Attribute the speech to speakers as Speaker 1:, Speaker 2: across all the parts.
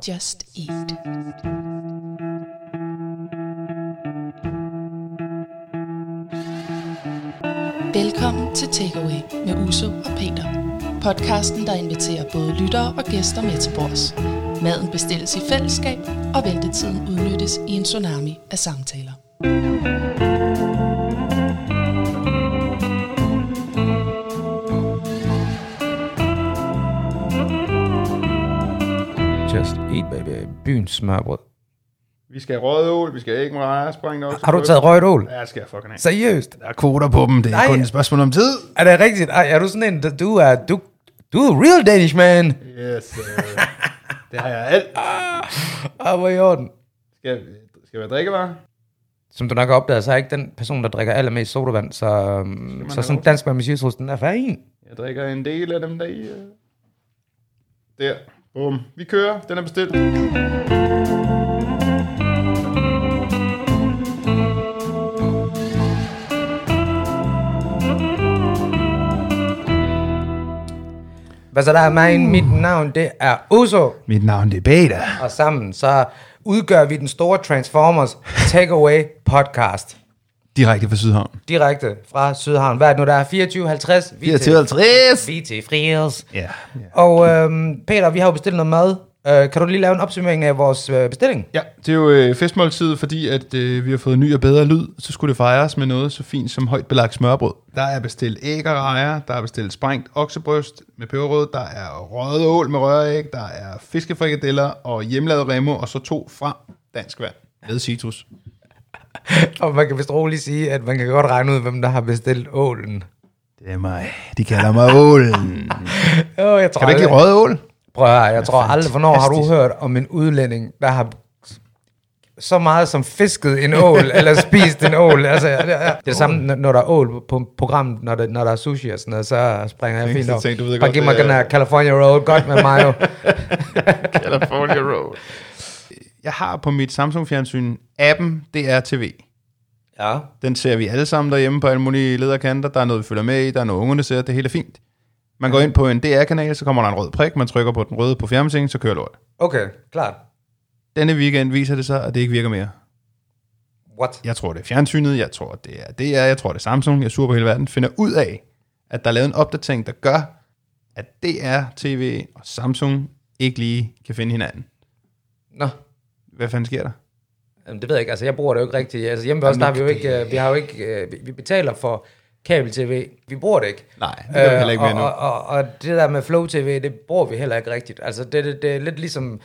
Speaker 1: Just Eat. Velkommen til Takeaway med Uso og Peter. Podcasten, der inviterer både lyttere og gæster med til bords. Maden bestilles i fællesskab, og ventetiden udnyttes i en tsunami af samtaler.
Speaker 2: Just eat, baby. Byens smørbrød.
Speaker 3: Vi skal have rødål, vi skal have ægmrejer, spring nok.
Speaker 2: Har du taget røget ål?
Speaker 3: Ja, det skal jeg fucking have.
Speaker 2: Seriøst?
Speaker 3: Der er kvoter på dem, det er
Speaker 2: Nej.
Speaker 3: kun et spørgsmål om tid.
Speaker 2: Er det rigtigt? Ej, er du sådan en, der- du er, du, du er real Danish man?
Speaker 3: Yes, uh, det har jeg alt.
Speaker 2: Ah, hvor i orden.
Speaker 3: Skal, skal jeg drikkevarer?
Speaker 2: Som du nok har opdaget, så er jeg ikke den person, der drikker allermest sodavand, så, øhm, så
Speaker 3: have
Speaker 2: sådan
Speaker 3: lov
Speaker 2: dansk med misjøsrus, den er fin.
Speaker 3: Jeg drikker en del af dem der i. øh. Der. Bum. Vi kører. Den er bestilt.
Speaker 2: Hvad så der er mig? Mit navn, det er Uso,
Speaker 3: Uh. Mit navn det er Beta.
Speaker 2: og sammen så udgør vi den store Transformers Takeaway podcast.
Speaker 3: Direkte fra Sydhavn.
Speaker 2: Direkte fra Sydhavn. Hvad er det nu, der er 24.50? Vi er til-
Speaker 3: 54.
Speaker 2: Vi er til friers.
Speaker 3: Ja. ja.
Speaker 2: Og øhm, Peter, vi har jo bestilt noget mad. Øh, kan du lige lave en opsummering af vores øh, bestilling?
Speaker 3: Ja, det er jo øh, festmåltid, fordi at øh, vi har fået ny og bedre lyd, så skulle det fejres med noget så fint som højt belagt smørbrød. Der er bestilt æg og rejer, der er bestilt sprængt oksebryst med peberrød, der er røget ål med røræg, der er fiskefrikadeller og hjemmelavet remo, og så to fra dansk vand med citrus.
Speaker 2: Og man kan vist roligt sige, at man kan godt regne ud, hvem der har bestilt ålen.
Speaker 3: Det er mig. De kalder mig ålen.
Speaker 2: Oh, jeg tror
Speaker 3: Kan du ikke lide
Speaker 2: aldrig-
Speaker 3: røget ål?
Speaker 2: Prøv at høre, jeg tror aldrig, hvornår har du hørt om en udlænding, der har så meget som fisket en ål, eller spist en ål. Altså, ja, ja, ja. det er det samme, når- når der er ål på programmet, når der, når der er sushi og sådan noget, så springer jeg
Speaker 3: Tænk,
Speaker 2: fint
Speaker 3: så
Speaker 2: over.
Speaker 3: tænk, du ved
Speaker 2: Bare
Speaker 3: godt,
Speaker 2: giv mig
Speaker 3: det
Speaker 2: den
Speaker 3: er-
Speaker 2: her California Roll, godt med mayo.
Speaker 3: California Road. Jeg har på mit Samsung-fjernsyn appen DR TV.
Speaker 2: ja.
Speaker 3: Den ser vi alle sammen derhjemme på alle mulige lederkanter. Der er noget, vi følger med i. Der er noget, ungerne ser. Det hele er fint. Man går ind på en DR-kanal, så kommer der en rød prik. Man trykker på den røde på fjernbetjeningen, så kører lort.
Speaker 2: Okay, klart.
Speaker 3: Denne weekend viser det sig, at det ikke virker mere.
Speaker 2: What?
Speaker 3: Jeg tror, det er fjernsynet. Jeg tror, det er DR. Jeg tror, det er Samsung. Jeg suger på hele verden. Finder ud af, at der er lavet en opdatering, der gør, at DR, TV og Samsung ikke lige kan finde hinanden.
Speaker 2: Nå.
Speaker 3: Hvad fanden sker der?
Speaker 2: Jamen, det ved jeg ikke. Altså, jeg bruger det jo ikke rigtigt. Altså, hjemme ved os, der har vi jo ikke, øh, vi har jo ikke, øh, vi- vi betaler for kabel-tv. Vi bruger det ikke.
Speaker 3: Nej, det gør vi heller ikke
Speaker 2: Øh,
Speaker 3: med
Speaker 2: og, og,
Speaker 3: nu.
Speaker 2: og, og det der med Flow TV, det bruger vi heller ikke rigtigt. Altså, det, det, det er lidt ligesom...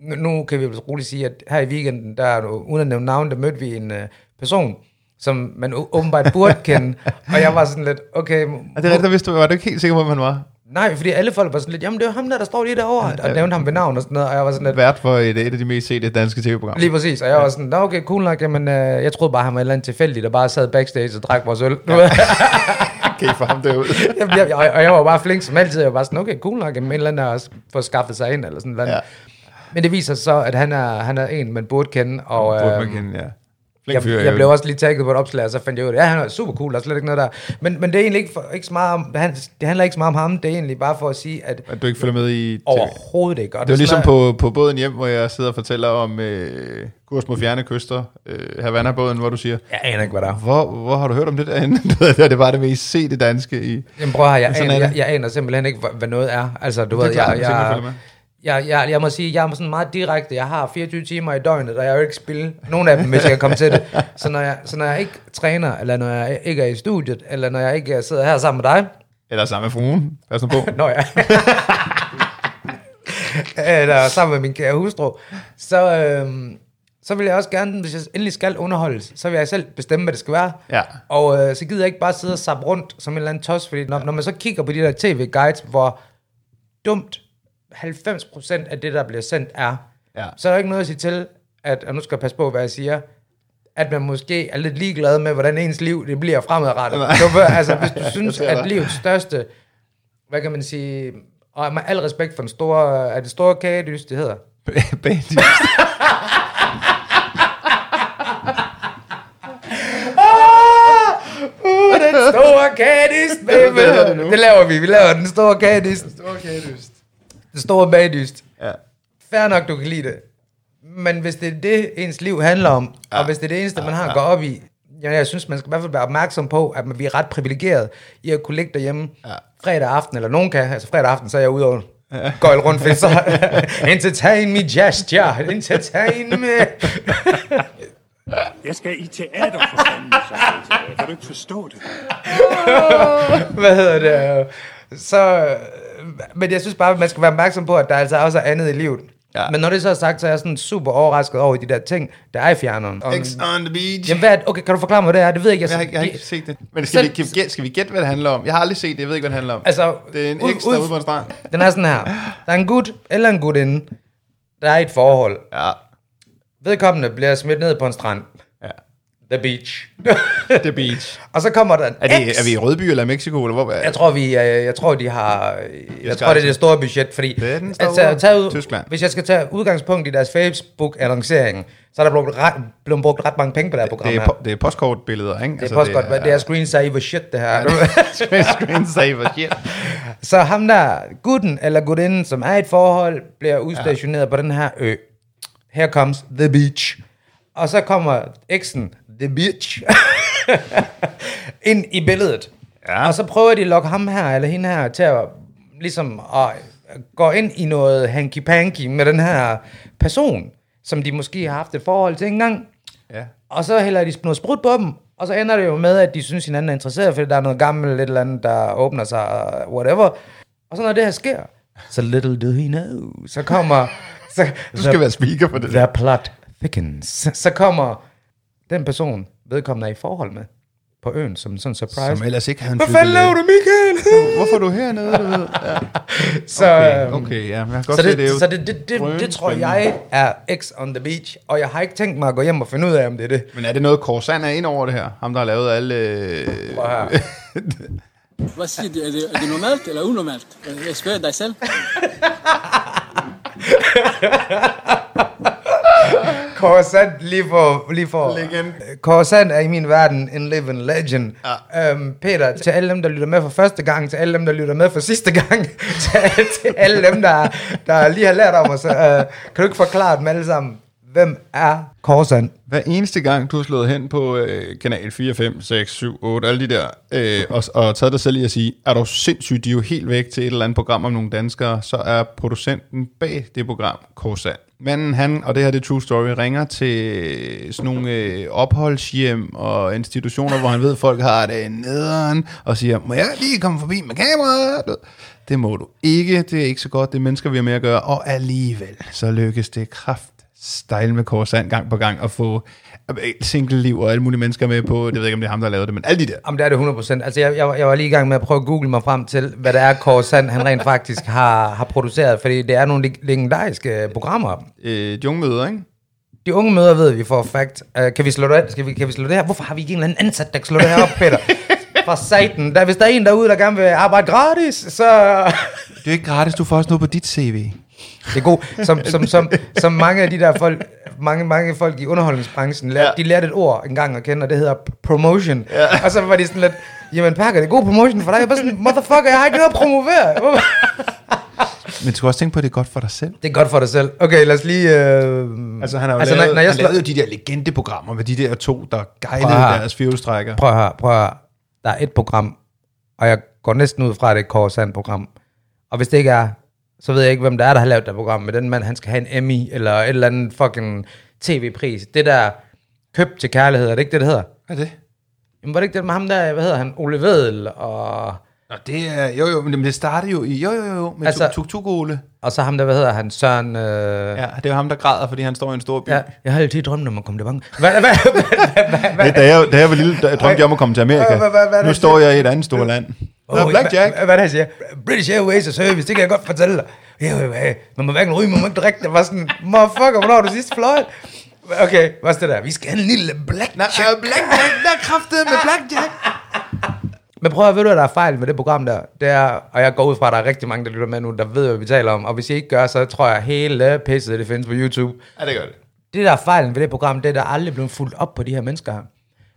Speaker 2: Nu- Nu kan vi vel roligt sige, at her i weekenden, der er nu, uden at nævne navn, der mødte vi en øh, person, som man å- åbenbart burde kende. og jeg var sådan lidt, okay...
Speaker 3: Er det rigtigt, der vidste du, var du ikke helt sikker på, hvem han var?
Speaker 2: Nej, fordi alle folk var sådan lidt, jamen det er jo ham der, der står lige derovre, og nævnte ham ved navn og sådan noget, og jeg var sådan lidt,
Speaker 3: Vært for et, et af de mest sete danske tv-programmer.
Speaker 2: Lige præcis, og jeg var sådan, Nå, okay, cool nok, jamen, øh, jeg troede bare, han var et eller andet tilfældig, der bare sad backstage og drak vores øl. Ja.
Speaker 3: Kan I få ham derude?
Speaker 2: jeg, jeg, og, og jeg var bare flink som altid, jeg var bare sådan, okay, cool nok, jamen, en eller anden har også fået skaffet sig ind, eller sådan noget. Ja.
Speaker 3: Ja.
Speaker 2: Men det viser sig så, at han er, han er en, man burde kende, og
Speaker 3: Burde man
Speaker 2: øh,
Speaker 3: kende, ja. Flink
Speaker 2: jeg,
Speaker 3: fyr,
Speaker 2: jeg blev også lige tagget på et opslag, og så fandt jeg ud af, ja, han er super cool, der er slet ikke noget der. Men, men det er egentlig ikke, for, ikke så meget om, han, det handler ikke så meget om ham, det er egentlig bare for at sige, at
Speaker 3: At du ikke følger med i TV.
Speaker 2: overhovedet ikke. Og
Speaker 3: Det var ligesom
Speaker 2: sådan-
Speaker 3: på, på båden hjem, hvor jeg sidder og fortæller om øh, kurs mod fjerne kyster, øh, Havana-båden, hvor du siger,
Speaker 2: Jeg aner ikke, hvad der er.
Speaker 3: hvor, hvor har du hørt om det derinde? Du ved, det er bare det mest sete danske i...
Speaker 2: Jamen prøv at høre, jeg,
Speaker 3: Sådan
Speaker 2: aner,
Speaker 3: er det.
Speaker 2: jeg, jeg aner simpelthen ikke, hvad, hvad noget er. Altså, du ved,
Speaker 3: klart,
Speaker 2: jeg,
Speaker 3: hvis ikke man
Speaker 2: jeg,
Speaker 3: følger med.
Speaker 2: jeg, jeg, jeg må sige, jeg er sådan meget direkte. Jeg har 24 timer i døgnet, og jeg vil ikke spille nogen af dem, hvis jeg kan komme til det. Så når, jeg, så når jeg ikke træner, eller når jeg ikke er i studiet, eller når jeg ikke øh, sidder her sammen med dig,
Speaker 3: Eller sammen med fruen. Pas nu på.
Speaker 2: Nå ja. Eller sammen med min kære hustru. Så, øhm, så vil jeg også gerne, hvis jeg endelig skal underholdes, så vil jeg selv bestemme, hvad det skal være.
Speaker 3: Ja.
Speaker 2: Og øh, så gider jeg ikke bare sidde og sappe rundt som en eller anden tos, fordi når, når man så kigger på de der tv-guides, hvor dumt 90% af det, der bliver sendt, er,
Speaker 3: Ja.
Speaker 2: så er der ikke noget at sige til, at, og nu skal jeg passe på, hvad jeg siger, at man måske er lidt ligeglad med, hvordan ens liv det bliver fremadrettet. Du, ved, altså, hvis du synes,
Speaker 3: ser
Speaker 2: at
Speaker 3: dig.
Speaker 2: livets største hvad kan man sige, og med al respekt for den store, er det store kagedys, det hedder?
Speaker 3: Bagdyst.
Speaker 2: Den store kagedys, baby!
Speaker 3: Det hedder det nu.
Speaker 2: det laver vi, vi laver den store kagedys,
Speaker 3: Okay, dyst.
Speaker 2: den store bagdyst.
Speaker 3: Ja.
Speaker 2: fair nok, du kan lide det. Men hvis det er det, ens liv handler om, ja. og hvis det er det eneste, man har at gå op i, ja, jeg synes, man skal i hvert fald være opmærksom på, at man, vi er ret privilegeret i at kunne ligge derhjemme ja. fredag aften, eller nogen kan, altså fredag aften, så er jeg ude og gøjle rundt fisser. Entertain me, gesture. Entertain me.
Speaker 4: Jeg skal i teater for fanden, så altså. Kan du ikke forstå det?
Speaker 2: hvad hedder det, øh, så, øh, men jeg synes bare, at man skal være opmærksom på, at der altså også er andet i livet.
Speaker 3: Ja.
Speaker 2: Ja. Men når det så er sagt, så er jeg sådan super overrasket over de der ting, der er i fjerneren. Og,
Speaker 3: X on the beach.
Speaker 2: jamen, hvad, er det- okay, kan du forklare mig, hvad det er? Det ved jeg ikke.
Speaker 3: Jeg har,
Speaker 2: Jeg,
Speaker 3: ikke- jeg har ikke set det. Men skal, vi,
Speaker 2: Selv-
Speaker 3: kan, vi gætte, skal vi gætte, hvad det handler om? Jeg har aldrig set det, jeg ved ikke, hvad det handler om.
Speaker 2: Altså,
Speaker 3: det er en
Speaker 2: ud-
Speaker 3: eks, der er
Speaker 2: ud-
Speaker 3: ude på en strand.
Speaker 2: Den er sådan her. Der er en gut eller en gutinde, der er i et forhold.
Speaker 3: Ja,
Speaker 2: Vedkommende bliver smidt ned på en strand.
Speaker 3: Ja.
Speaker 2: The beach.
Speaker 3: The Beach.
Speaker 2: og så kommer der en
Speaker 3: Er, det,
Speaker 2: ex.
Speaker 3: er vi i Rødby eller Mexico? Eller hvor,
Speaker 2: Jeg tror, vi, øh, jeg tror, de har... Jeg, jeg tror,
Speaker 3: skal
Speaker 2: det er
Speaker 3: altså-
Speaker 2: det store budget, fordi...
Speaker 3: Det er den store.
Speaker 2: tage ud,
Speaker 3: Tyskland.
Speaker 2: Hvis jeg skal tage udgangspunkt i deres Facebook-annoncering, så er der blevet, ret, blevet brugt ret mange penge på det her program
Speaker 3: det, er, altså,
Speaker 2: her.
Speaker 3: po- det er postkortbilleder, ikke?
Speaker 2: det er postgodt, det, det er screensaver shit, det her.
Speaker 3: screensaver shit.
Speaker 2: så ham der, gutten eller gutinden, som er i et forhold, bliver udstationeret ja. på den her ø. Her comes the beach. Og så kommer eksen, the bitch, ind i billedet.
Speaker 3: Ja.
Speaker 2: Og så prøver de at lokke ham her eller hende her til at, ligesom, at gå ind i noget hanky-panky med den her person, som de måske har haft et forhold til engang.
Speaker 3: Ja.
Speaker 2: Og så hælder de noget sprut på dem, og så ender det jo med, at de synes, hinanden er interesseret, fordi der er noget gammelt, et eller andet, der åbner sig, og whatever. Og så når det her sker, så little do he know, så kommer... Så,
Speaker 3: Du skal være speaker for det.
Speaker 2: The plot thickens. Så kommer den person, vedkommende er i forhold med, på øen, som sådan en surprise.
Speaker 3: Som ellers ikke havde en
Speaker 2: Hvad fanden laver du, Michael?
Speaker 3: Hvorfor er du hernede, du ved? Ja.
Speaker 2: så,
Speaker 3: Okay,
Speaker 2: øhm,
Speaker 3: okay, ja. Jeg kan godt
Speaker 2: Så
Speaker 3: se,
Speaker 2: det,
Speaker 3: det er jo
Speaker 2: så det, det, det, det tror jeg er X on the beach, og jeg har ikke tænkt mig at gå hjem og finde ud af, om det er det.
Speaker 3: Men er det noget, Korsan er ind over det her? Ham, der har lavet alle... øh,
Speaker 2: Prøv her.
Speaker 5: Hvad siger du? Er det, er det normalt eller unormalt? Jeg spørger dig selv.
Speaker 2: Coruscant lige for... Lige for
Speaker 3: Legend.
Speaker 2: Coruscant er i min verden en living legend. Ja. Øhm, Peter, til alle dem, der lytter med for første gang, til alle dem, der lytter med for sidste gang, til, til alle dem, der, der lige har lært om os, øh, kan du ikke forklare dem alle sammen, hvem er Coruscant?
Speaker 3: Hver eneste gang, du har slået hen på øh, kanal 4, 5, 6, 7, 8, alle de der, øh, og, og taget dig selv i at sige, er du sindssyg, de er jo helt væk til et eller andet program om nogle danskere, så er producenten bag det program Korsan. Manden, han, og det her det er True Story, ringer til sådan nogle øh, opholdshjem og institutioner, hvor han ved, at folk har det nederen, og siger, må jeg lige komme forbi med kameraet? Du ved, Det må du ikke, det er ikke så godt, det er mennesker, vi har med at gøre, og alligevel, så lykkes det kraft style med Korsand gang på gang og få single liv og alle mulige mennesker med på, det ved jeg ikke, om det er ham, der har lavet det, men alle de der.
Speaker 2: Jamen, det er det 100%. Altså, jeg, jeg, var- jeg var lige i gang med at prøve at google mig frem til, hvad det er, Coruscant, han rent faktisk har, har produceret, fordi det er nogle leg- legendariske programmer.
Speaker 3: Øh, jungmøder, ikke?
Speaker 2: De unge møder ved vi for fact. Uh, kan, vi slå det, af? skal vi, kan vi slå det her? Hvorfor har vi ikke en eller anden ansat, der kan slå det her op, Peter? For satan. Der, hvis der er en derude, der gerne vil arbejde gratis, så...
Speaker 3: Det er jo ikke gratis, du får også noget på dit CV.
Speaker 2: Det er godt. Som, som, som, som mange af de der folk, mange, mange folk i underholdningsbranchen, lærte, ja. de lærte et ord engang at kende, og det hedder p- promotion. Ja. Og så var de sådan lidt, jamen Parker, det er god promotion for dig. Jeg er bare sådan, motherfucker, jeg har ikke noget at promovere. Hvorfor-
Speaker 3: Men du skal også tænke på, at det er godt for dig selv.
Speaker 2: Det er godt for dig selv. Okay, lad os lige... Øh...
Speaker 3: Altså, han har jo altså,
Speaker 2: Altså, når-
Speaker 3: lavet,
Speaker 2: når jeg
Speaker 3: han
Speaker 2: slår-
Speaker 3: lavede jo de der legendeprogrammer med de der to, der guidede
Speaker 2: Prøv her.
Speaker 3: deres fjolstrækker.
Speaker 2: prøv her, prøv her. Der er et program, og jeg går næsten ud fra, at det er et Korsand-program. Og hvis det ikke er, så ved jeg ikke, hvem der er, der har lavet det program. Men den mand, han skal have en Emmy, eller et eller andet fucking tv-pris. Det der køb til kærlighed, er det ikke det, det hedder?
Speaker 3: Hvad er det?
Speaker 2: Jamen, var det ikke det med ham der, hvad hedder han, Ole Vedel, og,
Speaker 3: Nå, det er, jo jo, men det startede jo i, jo jo jo, med altså,
Speaker 2: Altså-
Speaker 3: tuk tuk ole
Speaker 2: og så ham der, hvad hedder han, Søren... Øh... Ja.
Speaker 3: Ja, det er jo ham, der græder, fordi han står i en stor by.
Speaker 2: Ja, jeg har altid drømt om at komme til banken. Hvad, hvad, hvad, hvad, hvad,
Speaker 3: Det, da, jeg, da jeg var lille, der drømte jeg om at komme til Amerika.
Speaker 2: Hvad- hvad- hvad- hvad er
Speaker 3: nu
Speaker 2: det,
Speaker 3: står jeg i et andet stort land. Der er
Speaker 2: Åh,
Speaker 3: blackjack.
Speaker 2: Hvad, hvad, hvad siger? British Airways og service, det kan jeg godt fortælle dig. Ja, ja, ja. Man må hverken ryge, man må ikke drikke. Det var sådan, motherfucker, hvornår har du sidst fløjet? Okay, hvad er det der? Vi skal have en lille blackjack.
Speaker 3: blackjack, der er kraftet med blackjack.
Speaker 2: Men prøv at høre, ved du, hvad der er fejl med det program der? Det er, og jeg går ud fra, at der er rigtig mange, der lytter med nu, der ved, hvad vi taler om. Og hvis I ikke gør, så tror jeg, at hele pisset, det findes på YouTube.
Speaker 3: Ja, det gør det.
Speaker 2: Det, der er fejlen ved det program, det er, at der aldrig er blevet fuldt op på de her mennesker her.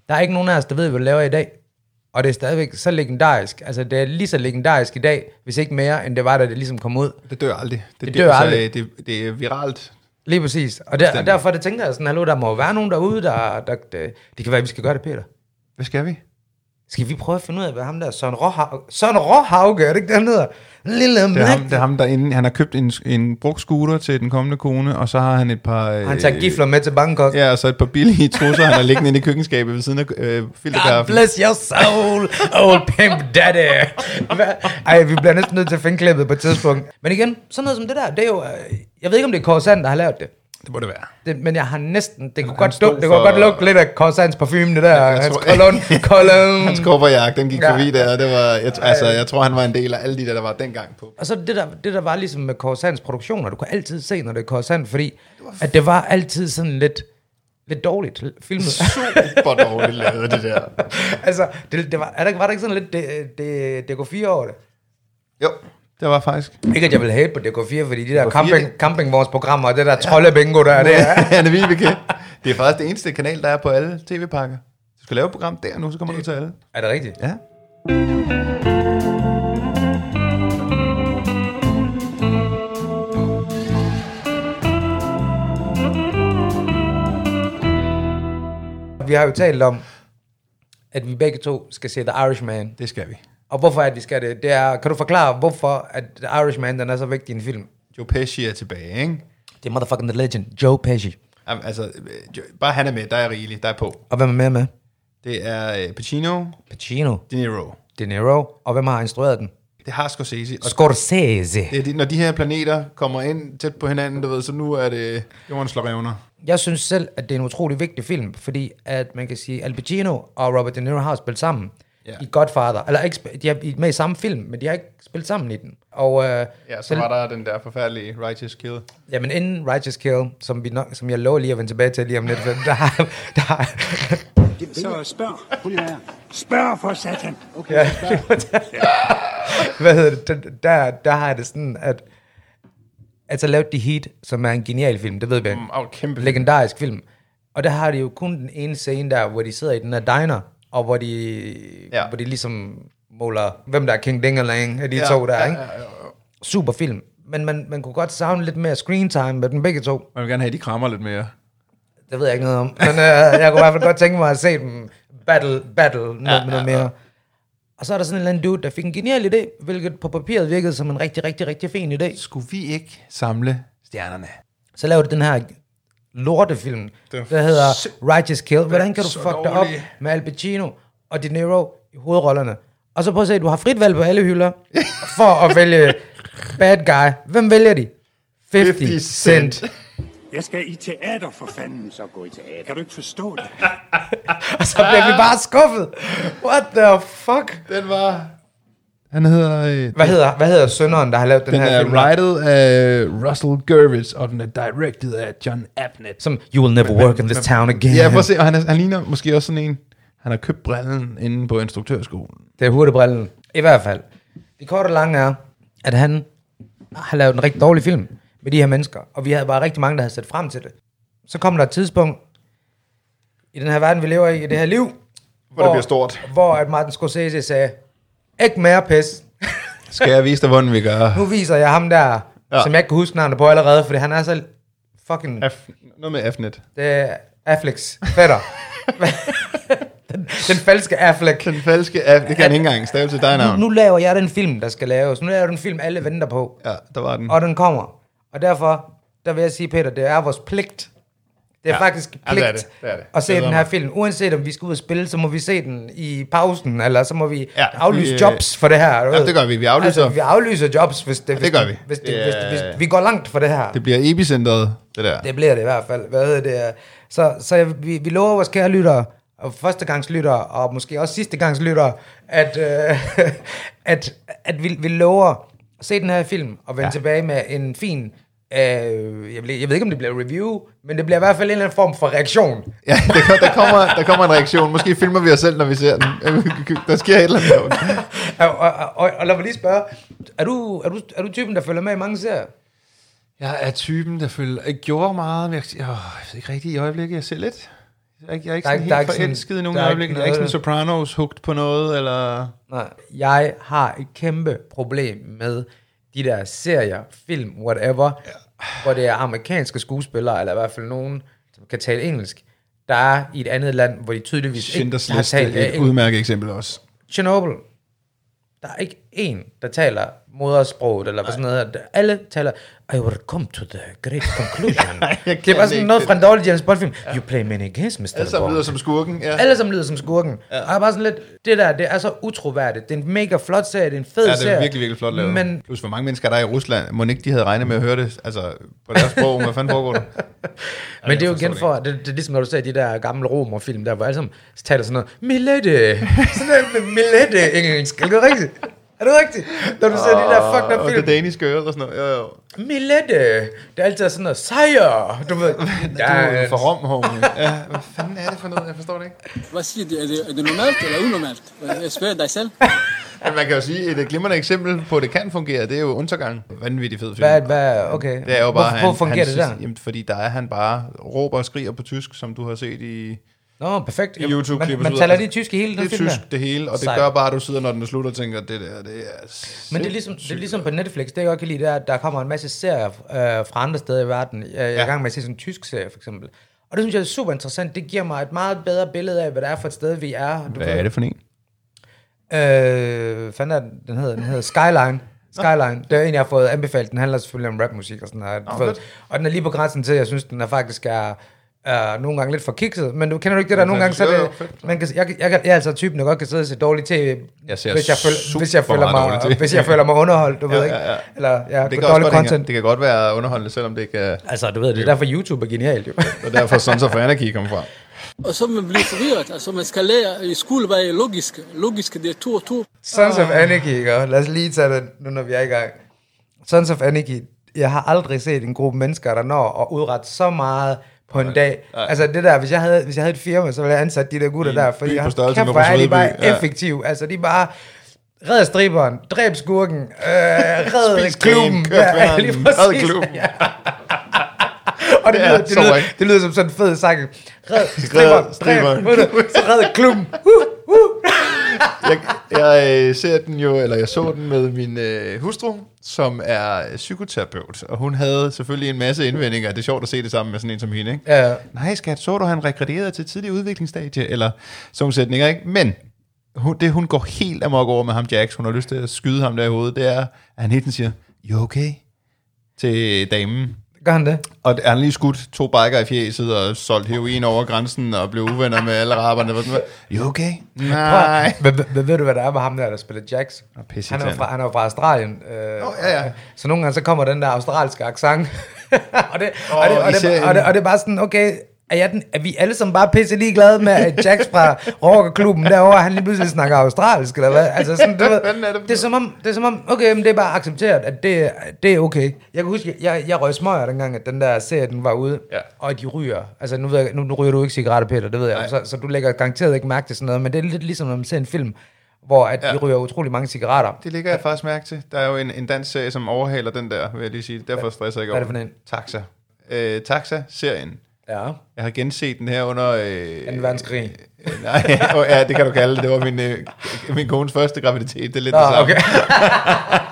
Speaker 2: Der er ikke nogen af os, der ved, hvad vi laver i dag. og det er stadigvæk så legendarisk. Altså, det er lige så legendarisk i dag, hvis ikke mere, end det var, da det ligesom kom ud.
Speaker 3: Det dør aldrig. Det, altså
Speaker 2: Det dør aldrig.
Speaker 3: det, det er viralt.
Speaker 2: Lige præcis. Og, der, og derfor det tænker jeg sådan, hallo, der må jo være nogen derude, der, der, det, det kan være, at vi skal gøre det, Peter.
Speaker 3: Hvad skal vi?
Speaker 2: Skal vi prøve at finde ud af, hvad ham der Søren Råhauge, Søren Råhauge, er det ikke det, han hedder? Lille
Speaker 3: Det er, ham,
Speaker 2: mand.
Speaker 3: det er ham, der inde, han har købt en, en brugt scooter til den kommende kone, og så har han et par... Øh,
Speaker 2: Han tager gifler med til Bangkok.
Speaker 3: Ja, og så et par billige trusser, han har liggende inde i køkkenskabet ved siden af øh,
Speaker 2: God
Speaker 3: filterkaffen.
Speaker 2: bless your soul, old pimp daddy. Hva- Ej, vi bliver næsten nødt til at finde klippet på et tidspunkt. Men igen, sådan noget som det der, det er jo... øh, Jeg ved ikke, om det er Korsand, der har lavet det.
Speaker 3: Det må det være.
Speaker 2: det men jeg har næsten... Det kunne,
Speaker 3: han
Speaker 2: godt,
Speaker 3: stod
Speaker 2: dukke, det kunne
Speaker 3: for-
Speaker 2: godt lugte lidt af Korsands parfume, det der.
Speaker 3: jeg
Speaker 2: Hans
Speaker 3: tror-
Speaker 2: cologne. cologne.
Speaker 3: Hans kofferjagt, den gik
Speaker 2: Ja.
Speaker 3: ja. forbi der, og det var, jeg, t- altså, jeg tror, han var en del af alle de der, der var dengang på.
Speaker 2: Og så det der, det der var ligesom med Korsands produktioner, du kunne altid se, når det er Korsand, fordi at det var altid sådan lidt, lidt dårligt filmet.
Speaker 3: Super dårligt lavet det der.
Speaker 2: altså, det, det var, er der, ikke- var der ikke sådan lidt det, det, DK4 over det?
Speaker 3: Jo, det var faktisk.
Speaker 2: Ikke at jeg vil hate på DK4, fordi de der
Speaker 3: DK4,
Speaker 2: camping,
Speaker 3: det-
Speaker 2: campingvognsprogrammer og det der troldebingo der, det er...
Speaker 3: Anne Vibeke. Det er faktisk det eneste kanal, der er på alle tv-pakker. Du skal lave et program der nu, så kommer du til alle.
Speaker 2: Er det rigtigt?
Speaker 3: Ja.
Speaker 2: Vi har jo talt om, at vi begge to skal se The Irishman.
Speaker 3: Det skal vi.
Speaker 2: Og hvorfor at vi skal det? det er, kan du forklare, hvorfor at The Irishman den er så vigtig i en film?
Speaker 3: Joe Pesci er tilbage, ikke?
Speaker 2: Det er motherfucking the legend, Joe Pesci.
Speaker 3: Am- Altså, øh, Jo- bare han er med, der er rigeligt, der er på.
Speaker 2: Og hvem er med med?
Speaker 3: Det er øh, Pacino,
Speaker 2: Pacino,
Speaker 3: De Niro.
Speaker 2: De Niro, og hvem har instrueret den?
Speaker 3: Det har Scorsese. Og
Speaker 2: Scorsese.
Speaker 3: det er de, når de her planeter kommer ind tæt på hinanden, du ved, så nu er det jorden slår revner.
Speaker 2: Jeg synes selv, at det er en utrolig vigtig film, fordi at man kan sige, Al Pacino og Robert De Niro har spillet sammen
Speaker 3: Ja.
Speaker 2: i Godfather. Eller ikke, sp- de er med i samme film, men de har ikke spillet sammen i den. Og øh,
Speaker 3: Ja, så var der den der forfærdelige Righteous Kill.
Speaker 2: Jamen inden Righteous Kill, som, vi nok, som jeg lover lige at vende tilbage til lige om lidt, for der har... Der har
Speaker 4: Så spørg. Spørg for satan.
Speaker 2: ja, hvad hedder det? Der, der, der har jeg det sådan, at... Altså lavet de Heat, som er en genial film, det ved vi. Mm,
Speaker 3: Og kæmpe
Speaker 2: legendarisk film. Og der har de jo kun den ene scene der, hvor de sidder i den her diner, og hvor de, ja.
Speaker 3: Ja.
Speaker 2: hvor de ligesom måler, hvem der er King Dingerlang af de ja,
Speaker 3: Ja,
Speaker 2: to der,
Speaker 3: ja,
Speaker 2: ikke?
Speaker 3: ja,
Speaker 2: Super film. Men man, man kunne godt savne lidt mere screen time med dem begge to.
Speaker 3: Man vil gerne have, at de krammer lidt mere.
Speaker 2: Det ved jeg ikke noget om. Men øh, jeg kunne i hvert fald godt tænke mig at se dem battle, battle noget, ja, noget mere. Og så er der sådan en eller anden dude, der fik en genial idé, hvilket på papiret virkede som en rigtig, rigtig, rigtig fin idé.
Speaker 3: Skulle vi ikke samle stjernerne?
Speaker 2: så laver du den her lortefilm, der hedder Righteous Kill. Hvordan kan du
Speaker 3: så
Speaker 2: fuck dig op
Speaker 3: dårlig.
Speaker 2: med Al Pacino og De Niro i hovedrollerne? Og så prøv at se, du har frit valg på alle hylder for at vælge bad guy. Hvem vælger de? 50,
Speaker 3: 50
Speaker 2: Cent.
Speaker 3: Cent.
Speaker 4: Jeg skal i teater for fanden. Så gå i teater. Kan du ikke forstå det?
Speaker 2: Og så bliver vi bare skuffet. What the fuck?
Speaker 3: Den var... Han hedder... Øh,
Speaker 2: Hvad hedder, hvad hedder sønderen, der har lavet den,
Speaker 3: den
Speaker 2: her
Speaker 3: er
Speaker 2: film?
Speaker 3: writet af Russell Gurwitz, og den er directed af John Abnett.
Speaker 2: Som, you will never work in this town again.
Speaker 3: Ja, prøv at se, og han, er, han ligner måske også sådan en... Han har købt brillen inde på instruktørskolen.
Speaker 2: Det er hurtigbrillen. I hvert fald. Det korte og lange er, at han har lavet en rigtig dårlig film med de her mennesker, og vi havde bare rigtig mange, der havde set frem til det. Så kom der et tidspunkt i den her verden, vi lever i, i det her liv, hvor,
Speaker 3: det bliver stort.
Speaker 2: Hvor at Martin Scorsese sagde, ikke mere pis.
Speaker 3: Skal jeg vise dig, hvordan vi gør?
Speaker 2: Nu viser jeg ham der, ja.
Speaker 3: Ja.
Speaker 2: som jeg ikke kan huske navnet på allerede, fordi han er så fucking...
Speaker 3: Af, noget med Afnet.
Speaker 2: Det er Afflecks fætter. den, den falske Affleck.
Speaker 3: Den falske Af, det kan han ikke engang stave til dig navn.
Speaker 2: Nu laver jeg den film, der skal laves. Nu laver jeg den film, alle venter på.
Speaker 3: Ja, der var den.
Speaker 2: og den kommer. Og derfor, der vil jeg sige, Peter, det er vores pligt. Det er ja.
Speaker 3: Ja.
Speaker 2: faktisk pligt
Speaker 3: Ja, det er det. Det er det.
Speaker 2: at se
Speaker 3: Jeg
Speaker 2: den
Speaker 3: glæder
Speaker 2: her
Speaker 3: mig.
Speaker 2: film. Uanset om vi skal ud og spille, så må vi se den i pausen, eller så må vi ja,
Speaker 3: Ja,
Speaker 2: aflyse
Speaker 3: vi, øh,
Speaker 2: jobs for det her. Du
Speaker 3: ja,
Speaker 2: ved.
Speaker 3: det gør vi. Vi aflyser.
Speaker 2: Altså, vi aflyser jobs, hvis det, hvis
Speaker 3: det gør vi.
Speaker 2: Hvis det,
Speaker 3: Det
Speaker 2: hvis,
Speaker 3: er-
Speaker 2: hvis, hvis, vi går langt for det her.
Speaker 3: Det
Speaker 2: Det,
Speaker 3: bliver epicentret, det der.
Speaker 2: det bliver det i hvert fald. Hvad hedder det? Så, så jeg, vi, vi lover vores kære lyttere, og førstegangslyttere, og måske også sidstegangslyttere, at, øh, at, at vi, vi lover at se den her film, og vende ja. tilbage med en fin, øh, jeg, ved, jeg ved ikke, om det bliver review, men det bliver i hvert fald en eller anden form for reaktion.
Speaker 3: Ja, der, kom- der, kommer, der kommer en reaktion. Måske filmer vi os selv, når vi ser den. Der sker et eller andet.
Speaker 2: og, og, og, og lad mig lige spørge, er du, er, du, er du typen, der følger med i mange serier?
Speaker 3: Jeg er typen, der følger... Jeg gjorde meget, men jeg, jeg, jeg ved ikke rigtigt i øjeblikket. Jeg ser lidt. Jeg Jeg er ikke, jeg er ikke
Speaker 2: Der er ikke- der er
Speaker 3: sådan helt
Speaker 2: ikke sådan-
Speaker 3: forelsket i nogen
Speaker 2: der er ikke
Speaker 3: øjeblik. Jeg er ikke sådan
Speaker 2: noget-
Speaker 3: Sopranos hugt på noget, eller...
Speaker 2: Nej, jeg har et kæmpe problem med de der serier, film, whatever, ja. hvor det er amerikanske skuespillere, eller i hvert fald nogen, som kan tale engelsk, der er i et andet land, hvor de tydeligvis
Speaker 3: Schindlers
Speaker 2: ikke har
Speaker 3: Liste er
Speaker 2: talt
Speaker 3: et
Speaker 2: engelsk.
Speaker 3: udmærket eksempel også.
Speaker 2: Chernobyl. Der er ikke en, der taler modersproget, eller hvad sådan noget. her. Alle taler, I will come to the great conclusion. det er
Speaker 3: kan
Speaker 2: bare sådan noget
Speaker 3: ikke det. Altså,
Speaker 2: fra en dårlig James Bond-film. You play many games, Mr.
Speaker 3: Alle sammen
Speaker 2: Bond.
Speaker 3: lyder som skurken. Ja.
Speaker 2: Alle sammen lyder som skurken. Ja. Og jeg er bare sådan lidt, det der, det er så utroværdigt. Det er en mega flot serie, det er en fed
Speaker 3: Ja,
Speaker 2: serie.
Speaker 3: det er virkelig, virkelig flot lavet.
Speaker 2: Men
Speaker 3: Men... Plus, hvor mange mennesker der er i Rusland, må ikke de havde regnet med at høre det, altså på deres sprog, hvad fanden foregår der?
Speaker 2: Men det er jo
Speaker 3: forstår
Speaker 2: igen
Speaker 3: det
Speaker 2: for, det, det er ligesom når du ser de der gamle romerfilm, der hvor alle sammen taler sådan noget, Milette, sådan noget med Milette engelsk, er det rigtigt? Er det rigtigt? Når du ser de der fucking
Speaker 3: og,
Speaker 2: der
Speaker 3: og
Speaker 2: film,
Speaker 3: det daniske øre og sådan noget. Jo, jo.
Speaker 2: Milette, det er altid sådan noget, sejr, du ved.
Speaker 3: Du er jo
Speaker 2: dans.
Speaker 3: fra Rom, homie. ja, hvad fanden er det for noget? Jeg forstår det ikke.
Speaker 5: Hvad siger du? Er det, er det normalt eller unormalt? Jeg spørger dig selv.
Speaker 3: Men man kan jo sige, et øh, glimrende eksempel på, at det kan fungere, det er jo Untergang. Vanvittig fed film.
Speaker 2: Hvad, hvad, okay.
Speaker 3: Det er jo bare,
Speaker 2: Hvorfor, hvorfor fungerer det
Speaker 3: han,
Speaker 2: der?
Speaker 3: Jamen, fordi der er han bare råber og skriger på tysk, som du har set i...
Speaker 2: Nå, perfekt.
Speaker 3: i YouTube-klippet.
Speaker 2: Man, man taler lige tysk i hele den
Speaker 3: det er
Speaker 2: film der.
Speaker 3: tysk, det hele, og det
Speaker 2: Sejt.
Speaker 3: gør bare, at du sidder, når den er slut, og tænker, det der, det er...
Speaker 2: Men det er, ligesom, det er ligesom på Netflix, det jeg godt kan lide, det er, at der kommer en masse serier øh, fra andre steder i verden. Jeg, jeg er i gang med at se sådan en tysk serie, for eksempel. Og det synes jeg er super interessant. Det giver mig et meget bedre billede af, hvad det er for et sted, vi er. Du
Speaker 3: Hvad er det for en?
Speaker 2: ved. Øh, fanden er den, den hedder? Den hedder Skyline. Skyline. Det er en, jeg har fået anbefalet. Den handler selvfølgelig om rapmusik og sådan noget. Oh,
Speaker 3: fedt.
Speaker 2: og den er lige på grænsen til, at jeg synes, den er faktisk er... Uh, nogle gange lidt for kikset, men du kender du ikke det der nogle gange, så er
Speaker 3: Jo, jo,
Speaker 2: det,
Speaker 3: fedt.
Speaker 2: man kan, jeg, jeg, jeg, jeg er altså typen, der godt kan sidde og se dårlig tv,
Speaker 3: Jeg ser
Speaker 2: hvis jeg, føler,
Speaker 3: super
Speaker 2: hvis, jeg føler
Speaker 3: meget dårlig
Speaker 2: mig,
Speaker 3: TV.
Speaker 2: hvis jeg føler mig underholdt, du ja, ved ikke,
Speaker 3: ja, ja.
Speaker 2: eller ja,
Speaker 3: Det
Speaker 2: det
Speaker 3: kan, også
Speaker 2: dårlig
Speaker 3: godt,
Speaker 2: content.
Speaker 3: hænge- det kan godt være underholdende, selvom det ikke er...
Speaker 2: Altså, du ved, det er derfor YouTube er genialt, jo.
Speaker 3: Og derfor Sons of Anarchy kom fra.
Speaker 5: Og så man bliver forvirret. Altså man skal lære i skole, hvad er logisk. Logisk, det er to og to.
Speaker 2: Sons of Anarchy, ikke? Lad os lige tage det, nu når vi er i gang. Sons of Anarchy, jeg har aldrig set en gruppe mennesker, der når at udrette så meget på en dag. Altså det der, hvis jeg havde, hvis jeg havde et firma, så ville jeg ansætte de der gutter
Speaker 3: en
Speaker 2: der,
Speaker 3: by
Speaker 2: fordi
Speaker 3: på
Speaker 2: jeg,
Speaker 3: størrelse
Speaker 2: kæft,
Speaker 3: med
Speaker 2: hvor er de
Speaker 3: Rødby.
Speaker 2: bare
Speaker 3: Ja.
Speaker 2: effektive. Altså de er bare Red striberen, dræb skurken, øh, red
Speaker 3: Spis kagen,
Speaker 2: klubben,
Speaker 3: kør kvanen,
Speaker 2: lige
Speaker 3: red
Speaker 2: præcis.
Speaker 3: klubben.
Speaker 2: Ja. Og det
Speaker 3: Ja,
Speaker 2: lyder, det,
Speaker 3: så
Speaker 2: lyder,
Speaker 3: ikke.
Speaker 2: det lyder som sådan en fed sang. Red striberen, dræb,
Speaker 3: striberen.
Speaker 2: ved du, så red klubben. Uh, uh.
Speaker 3: Jeg, jeg øh, ser den jo, eller jeg så den med min øh, hustru, som er øh, psykoterapeut, og hun havde selvfølgelig en masse indvendinger. Det er sjovt at se det sammen med sådan en som hende, ikke?
Speaker 2: Ja.
Speaker 3: Nej, skat, så du, han regrederede til tidlig udviklingsstadie, eller sådan nogle sætninger, ikke? Men hun, det, hun går helt amok over med ham, Jax, hun har lyst til at skyde ham der i hovedet, det er, at han hele tiden siger, you okay? til damen.
Speaker 2: Gør han det?
Speaker 3: Og han har lige skudt to biker i fjeset og solgt heroin over grænsen og blev uvenner med alle raberne. Var sådan, you okay? Nej.
Speaker 2: Hvad, hvad- hvad ved du, hvad der er med ham der, der spiller Jax?
Speaker 3: pisse
Speaker 2: Han er jo
Speaker 3: irriterende.
Speaker 2: fra, han er jo fra Australien. Øh,
Speaker 3: Åh, ja, ja.
Speaker 2: Så nogle gange så kommer den der australske accent. og, det, og, det,
Speaker 3: Åh,
Speaker 2: og,
Speaker 3: i
Speaker 2: det,
Speaker 3: serien.
Speaker 2: og, det, og det er bare sådan, okay, er, jeg den, er vi alle sammen bare pisse ligeglade med, at Jax fra rockerklubben derovre, han lige pludselig snakker australsk, eller hvad? Altså sådan, du ved,
Speaker 3: fanden er det for
Speaker 2: det, er som om, det er som om, okay, men det er bare accepteret, at det, det er okay. Jeg kan huske, jeg, jeg røg smøger dengang, at den der serie, den var ude,
Speaker 3: Ja.
Speaker 2: og de ryger. Altså, nu, ved jeg, nu, nu ryger du ikke cigaretter, Peter, det ved jeg. Så, så du lægger garanteret ikke mærke til sådan noget, men det er lidt ligesom, når man ser en film, hvor at ja. de ryger utrolig mange cigaretter.
Speaker 3: Det ligger jeg faktisk mærke til. Der er jo en, en dansk serie, som overhaler den der, vil jeg lige sige. Derfor stresser jeg ikke
Speaker 2: Hvad er
Speaker 3: over
Speaker 2: det for en?
Speaker 3: Taxa. Øh, Taxa-serien.
Speaker 2: Ja.
Speaker 3: Jeg har genset den her under... Øh,
Speaker 2: Den verdenskrig.
Speaker 3: øh, Nej, åh, ja, det kan du kalde det. Det var min, øh, min kones første graviditet. Det er lidt
Speaker 2: Nå,
Speaker 3: det samme.
Speaker 2: okay.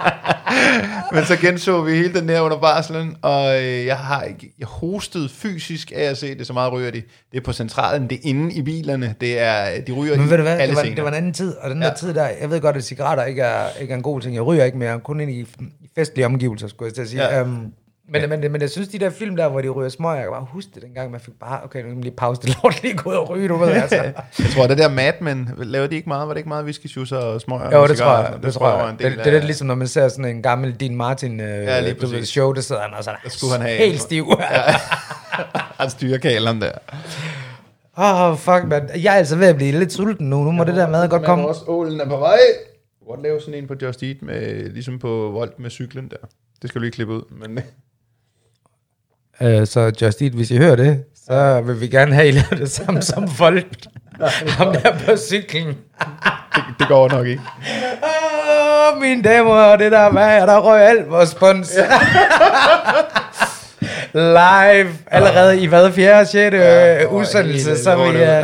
Speaker 3: Men så genså vi hele den her under barslen, og øh, jeg har ikke- jeg hostet fysisk af at se det, så meget ryger de. Det er på centralen, det er inde i bilerne, det er, øh, de ryger
Speaker 2: Men
Speaker 3: i
Speaker 2: ved du hvad,
Speaker 3: alle
Speaker 2: det var,
Speaker 3: scener.
Speaker 2: det var en anden tid, og den der
Speaker 3: Ja.
Speaker 2: tid der, jeg ved godt, at cigaretter ikke er, ikke er en god ting, jeg ryger ikke mere, kun ind i i festlige omgivelser, skulle jeg til at sige.
Speaker 3: Ja.
Speaker 2: Ja. Um, men, men, men jeg synes, de der film der, hvor de ryger smøger, jeg kan bare huske det dengang, man fik bare, okay, nu kan man lige pause det lort, lige gå ud og ryge, du ved, altså.
Speaker 3: Jeg tror, det der Mad Men, lavede de ikke meget? Var det ikke meget whiskysjuicer og smøger?
Speaker 2: Jo,
Speaker 3: og
Speaker 2: det
Speaker 3: cigarer
Speaker 2: tror
Speaker 3: og sådan
Speaker 2: jeg,
Speaker 3: noget?
Speaker 2: det tror
Speaker 3: var en
Speaker 2: jeg. Det,
Speaker 3: del
Speaker 2: det er lidt
Speaker 3: af-
Speaker 2: ligesom, når man ser sådan en gammel Dean Martin øh,
Speaker 3: Ja, lige
Speaker 2: du ved,
Speaker 3: præcis.
Speaker 2: show, der sidder han og sådan,
Speaker 3: skulle han have en.
Speaker 2: helt stiv. Åh, ligesom-
Speaker 3: Han styrer kaleren der.
Speaker 2: oh, fuck, man. Jeg er altså ved at blive lidt sulten nu, nu må det der mad godt komme.
Speaker 3: også, ålen er på vej. Godt lave sådan en på Just Eat, med, ligesom på Volt med cyklen der. Det skal du lige klippe ud. Men
Speaker 2: Øh, så Just Eat, hvis I hører det, så vil vi gerne have, at I laver det samme som folk. Ham der på cyklen.
Speaker 3: det går nok ikke.
Speaker 2: Åh, mine damer og det der, hvad er der røg alt vores spons? live allerede i hvad, 4. 6. Ja, øh, udsendelse,
Speaker 3: helt
Speaker 2: så vi...
Speaker 3: lortet,
Speaker 2: Øh,
Speaker 3: ja.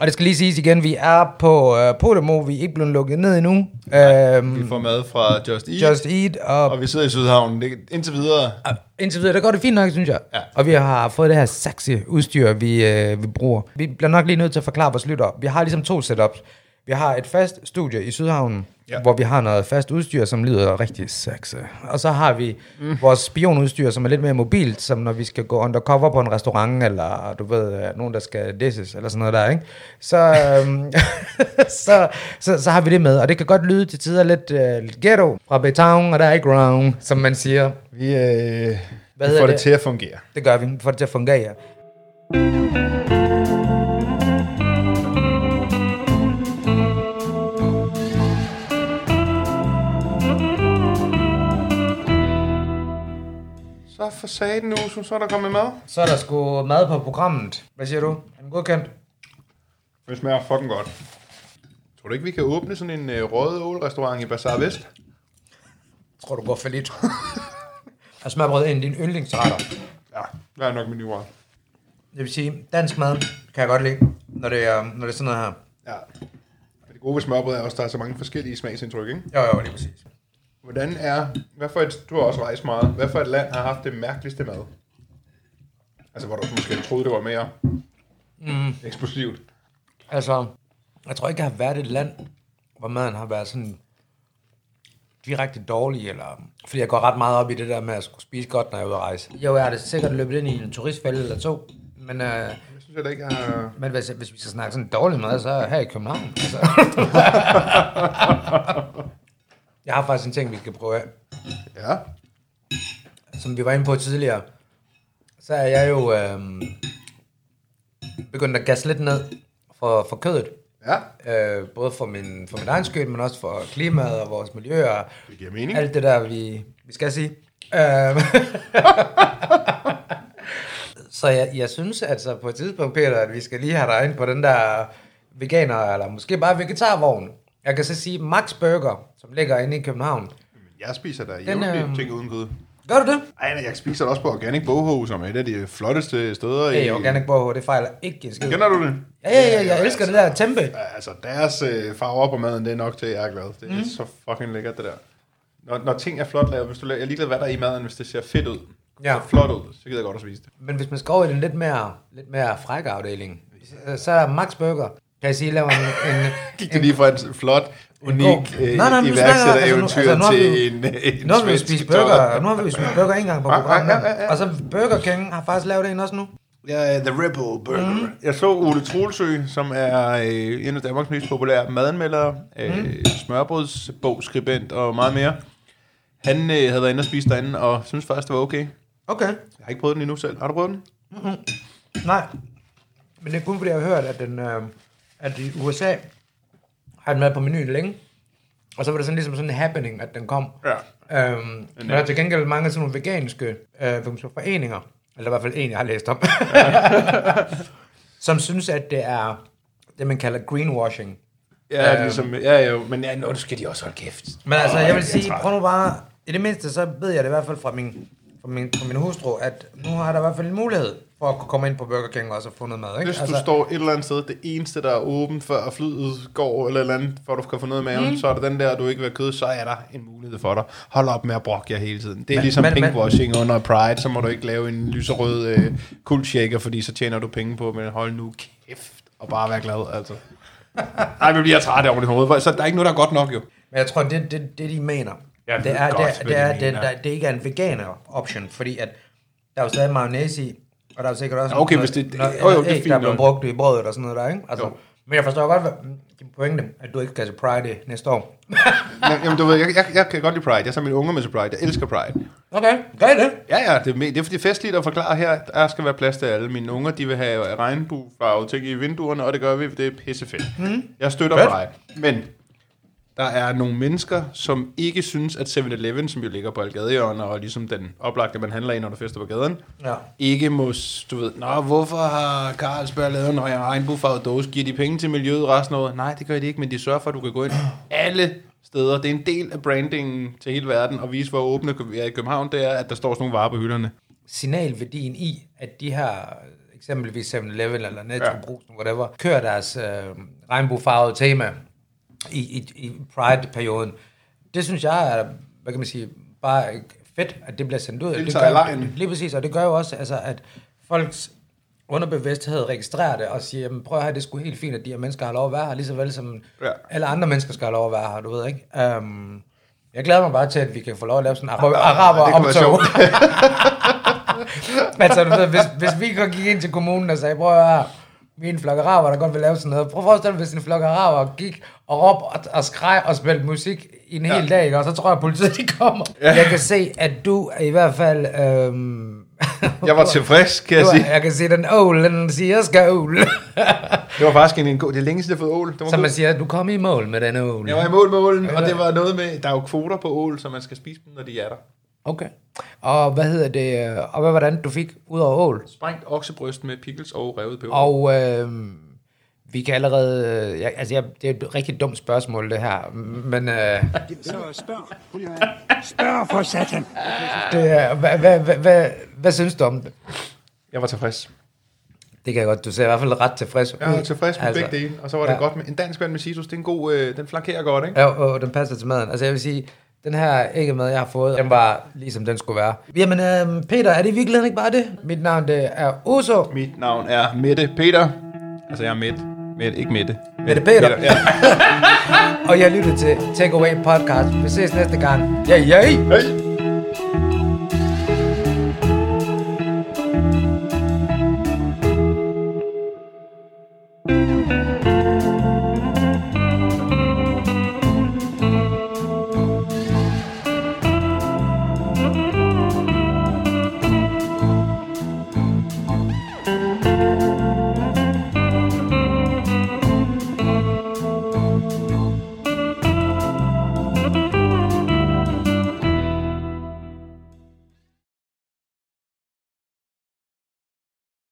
Speaker 2: og det skal lige siges igen, vi er på øh, Podemo, vi er ikke blevet lukket ned endnu.
Speaker 3: Vi
Speaker 2: Øhm,
Speaker 3: får mad fra Just Eat,
Speaker 2: Just Eat, og
Speaker 3: og vi sidder i Sydhavn. Det, indtil videre,
Speaker 2: Ah, Indtil videre, der går det fint nok, synes jeg.
Speaker 3: Ja.
Speaker 2: Og vi har fået det her sexy udstyr, vi, øh, vi bruger. Vi bliver nok lige nødt til at forklare vores lyttere. Vi har ligesom to setups. Vi har et fast studie i Sydhavnen,
Speaker 3: Ja.
Speaker 2: ja. hvor vi har noget fast udstyr, som lyder rigtig sexy. Og så har vi mm. vores spionudstyr, som er lidt mere mobilt, som når vi skal gå undercover på en restaurant, eller du ved, øh, nogen, der skal disses, eller sådan noget der, ikke? Så, øhm, så, så, så har vi det med, og det kan godt lyde til tider lidt, øh, lidt ghetto fra Baytown, og der er ikke ground, som man siger.
Speaker 3: vi, øh,
Speaker 2: Hvad
Speaker 3: vi
Speaker 2: hedder
Speaker 3: får det?
Speaker 2: det?
Speaker 3: til at fungere.
Speaker 2: Det gør vi, for det til at fungere. ja.
Speaker 3: Så for satan nu, som så er der kommet mad.
Speaker 2: Så er der sgu mad på programmet. Hvad siger du? Er den godkendt?
Speaker 3: Det smager fucking godt. Tror du ikke, vi kan åbne sådan en øh, rød ålrestaurant i Bazaar Vest?
Speaker 2: Tror du går for lidt. og smørbrød er en af dine yndlingsretter.
Speaker 3: Ja, der er nok menuer.
Speaker 2: Det vil sige, dansk mad kan jeg godt lide, når det er, når det er sådan noget her.
Speaker 3: Ja. Men det gode ved smørbrød er også, at der er så mange forskellige smagsindtryk, ikke?
Speaker 2: Jo, jo, lige præcis.
Speaker 3: Hvordan er... Hvad for et, du har også rejst meget. Hvad for et land har haft det mærkeligste mad? Altså, hvor du måske troede, det var mere mm. eksplosivt.
Speaker 2: Altså, jeg tror ikke, jeg har været i et land, hvor maden har været sådan direkte dårlig, eller, fordi jeg går ret meget op i det der med at skulle spise godt, når jeg er ude at rejse. Jo, jeg er da sikkert løbet ind i en turistfælde eller to, men, øh,
Speaker 3: Jeg synes heller ikke, jeg har...
Speaker 2: men hvis, hvis, vi skal snakke sådan dårlig mad, så er her i København. Altså. jeg har faktisk en ting, vi skal prøve af
Speaker 3: Ja.
Speaker 2: som vi var inde på tidligere, så er jeg jo øh, begyndt at gasse lidt ned for, for kødet.
Speaker 3: Ja.
Speaker 2: Øh, både for min, for min egen skyld, men også for klimaet og vores miljø og
Speaker 3: Det giver mening.
Speaker 2: alt det der, vi, vi skal sige. Øh, så jeg, jeg synes altså på et tidspunkt, Peter, at vi skal lige have dig ind på den der veganer, eller måske bare vegetarvogn. Jeg kan så sige Max Burger, som ligger inde i København.
Speaker 3: Jeg spiser da jævnligt
Speaker 2: øhm,
Speaker 3: ting uden kød.
Speaker 2: Gør du det?
Speaker 3: Ej, men jeg spiser da også på Organic Boho, som er et af de flotteste steder
Speaker 2: Hey,
Speaker 3: i...
Speaker 2: Organic Boho, det fejler ikke en skid.
Speaker 3: Kender du det?
Speaker 2: Ja, ja, ja, jeg elsker det der tempe.
Speaker 3: Altså, deres øh, farver på maden, det er nok til, at jeg er glad. Det er mm. så fucking lækkert, det der. Når, når ting er flot lavet, hvis du laver, jeg er ligeglad, hvad der er i maden, hvis det ser fedt ud,
Speaker 2: Ja.
Speaker 3: ja. ser flot ud, så gider jeg godt at spise det.
Speaker 2: Men hvis man skal over i den lidt mere, lidt mere frække afdeling, så- så er Max Burger, kan jeg sige, laver en... en
Speaker 3: Gik det lige fra et flot, unik
Speaker 2: god-
Speaker 3: øh,
Speaker 2: Nej, nej, men nu
Speaker 3: iværksættereventyr
Speaker 2: snakker jeg- altså, nu- altså, nu har
Speaker 3: til
Speaker 2: vi
Speaker 3: en, øh, en
Speaker 2: nu har vi jo
Speaker 3: svensk
Speaker 2: spist
Speaker 3: dollar.
Speaker 2: burger, nu har vi jo spist burger en gang på
Speaker 3: Ja, ja,
Speaker 2: programmet.
Speaker 3: ja, ja, ja.
Speaker 2: Og så Burger King har faktisk lavet en også nu.
Speaker 3: Ja, The Ripple Burger. Mm. Jeg så Ole Troelsø, som er øh, en af Danmarks mest populære madanmelder, øh, mm. smørbrødsbogskribent og meget mere. Han øh, havde været inde og spise derinde, og synes faktisk, det var okay.
Speaker 2: Okay.
Speaker 3: Jeg har ikke prøvet den endnu selv. Har du prøvet den?
Speaker 2: Nej. Men det er kun fordi, jeg har hørt, at, den, øh, at i USA har den været på menuen længe. Og så var det sådan ligesom sådan en happening, at den kom.
Speaker 3: Ja.
Speaker 2: Øhm, men der er til gengæld mange sådan nogle veganske øh, hvad kan man sige, foreninger, eller i hvert fald en, jeg har læst om, som synes, at det er det, man kalder greenwashing.
Speaker 3: Ja, ligesom, ja jo, men ja, nu skal de også holde kæft.
Speaker 2: Men altså, jeg vil sige, prøv nu bare, i det mindste, så ved jeg det i hvert fald fra min, fra min, fra min hustru, at nu har der i hvert fald en mulighed for at kunne komme ind på Burger King og så få noget mad. Ikke? Altså,
Speaker 3: Hvis du står et eller andet sted, det eneste, der er åbent, før flyet går, eller et eller andet, for at du kan få noget i maven, mm. så er der den der, du ikke vil have kød, så er der en mulighed for dig. Hold op med at brokke jer hele tiden. Det er
Speaker 2: Men-
Speaker 3: ligesom
Speaker 2: men- men-
Speaker 3: pinkwashing under Pride, så må du ikke lave en lyserød øh, kultshaker, fordi så tjener du penge på, men hold nu kæft, og bare være glad, altså. Nej, men jeg bliver træt over det hoved, så der er ikke noget, der er godt nok, jo.
Speaker 2: Men jeg tror, det, det, det de mener,
Speaker 3: Jeg
Speaker 2: det
Speaker 3: ved
Speaker 2: er,
Speaker 3: godt,
Speaker 2: det, er-
Speaker 3: hvad
Speaker 2: det,
Speaker 3: de
Speaker 2: er, det,
Speaker 3: mener.
Speaker 2: der, det ikke er en veganer option, fordi at der er jo stadig mayonnaise i, og der er jo sikkert også
Speaker 3: Ja, okay,
Speaker 2: noget,
Speaker 3: hvis det-
Speaker 2: noget,
Speaker 3: jo, jo, det er
Speaker 2: noget æg,
Speaker 3: fint
Speaker 2: der er blevet
Speaker 3: nok.
Speaker 2: brugt i brødet og sådan noget der, ikke? Altså,
Speaker 3: Jo.
Speaker 2: men jeg forstår godt hvad, din pointe, at du ikke skal til Pride næste år.
Speaker 3: Jamen, Jamen, du ved, jeg, jeg, jeg kan godt lide Pride. Jeg tager mine unger med til Pride. Jeg elsker Pride.
Speaker 2: Okay, gør I det?
Speaker 3: Ja, ja, det er, me- det er fordi festligt at forklare her, der skal være plads til alle. Mine unger, de vil have regnbuefarve ting i vinduerne, og det gør vi, det er pissefedt. Mm. Jeg støtter
Speaker 2: Fedt.
Speaker 3: dig. Men der er nogle mennesker, som ikke synes, at 7-Eleven, som jo ligger på Algadehjørnet, og ligesom den oplagte, man handler i, når du fester på gaden,
Speaker 2: Ja.
Speaker 3: ikke må, s- du ved, Nå, hvorfor har Carlsberg lavet en regnbuefarvet dåse? Giver de penge til miljøet resten af året? Nej, det gør de ikke, men de sørger for, at du kan gå ind alle steder. Det er en del af brandingen til hele verden, og vise, hvor åbne vi er i København, det er, at der står sådan nogle varer på hylderne.
Speaker 2: signalværdien i, at de her eksempelvis 7-Eleven eller Netto Brugsen, whatever, kører deres øh, regnbuefarvede tema i, i, i Pride-perioden. Det synes jeg er, hvad kan man sige, bare fedt, at det bliver sendt ud.
Speaker 3: Deltager i legen.
Speaker 2: lige præcis, og det gør jo også, altså, at folks underbevidsthed registrerer det og siger, jamen prøv at høre, det er sgu helt fint, at de her mennesker har lov at være her, lige så vel som
Speaker 3: Ja.
Speaker 2: ja. alle andre mennesker skal have lov at være her, du ved, ikke? Um, jeg glæder mig bare til, at vi kan få lov at lave sådan en ara-
Speaker 3: Ah, det kunne være
Speaker 2: araber-optog.
Speaker 3: sjovt.
Speaker 2: altså, du ved, hvis, hvis vi godt gik ind til kommunen og sagde, prøv at høre, vi er en flok araber, der godt vil lave sådan noget. Prøv at forestille dig, hvis en flok araber gik og råbte og, og skreg og spillede musik i en hel dag, ikke? og så tror jeg, at politiet de kommer. Ja. Jeg kan se, at du i hvert fald... Øhm,
Speaker 3: Jeg var tilfreds, kan jeg
Speaker 2: du,
Speaker 3: sige.
Speaker 2: jeg kan se den ål, den siger, jeg skal ål.
Speaker 3: Det var faktisk en, en god... Det er længe siden, jeg har fået ål. Det var
Speaker 2: Så
Speaker 3: god.
Speaker 2: man siger, du kom i mål med den ål.
Speaker 3: Jeg var i mål med ålen, og det var noget med... Der er jo kvoter på ål, så man skal spise dem, når de er der.
Speaker 2: Okay. Og hvad hedder det, øh, og hvad var det andet, du fik ud over ål?
Speaker 3: Sprængt oksebryst med pickles og revet peber.
Speaker 2: Og øh, vi kan allerede... Øh, jeg, altså, jeg, det er et rigtig dumt spørgsmål, det her. Men øh,
Speaker 4: Så spørg. Spørg for satan.
Speaker 2: det er, hvad, hvad, hvad, hvad, hvad synes du om det?
Speaker 3: Jeg var tilfreds.
Speaker 2: Det kan jeg godt. Du ser i hvert fald ret tilfreds ud.
Speaker 3: Jeg var tilfreds med altså, begge dele, og så var det
Speaker 2: ja.
Speaker 3: godt med en dansk vand med citrus. Det er en god... Øh, den flankerer godt, ikke?
Speaker 2: Ja, og og den passer til maden. Altså, jeg vil sige, den her æggemad, jeg har fået, den var ligesom den skulle være. Jamen, øh, Peter, er det i virkeligheden ikke bare det? Mit navn, det er Oso.
Speaker 3: Mit navn er Mette Peter. Altså, jeg er Mette. Mette, ikke Mette.
Speaker 2: Mette Peter.
Speaker 3: ja.
Speaker 2: Og jeg lytter til Takeaway Podcast. Vi ses næste gang. Ja, ja.
Speaker 3: Hey.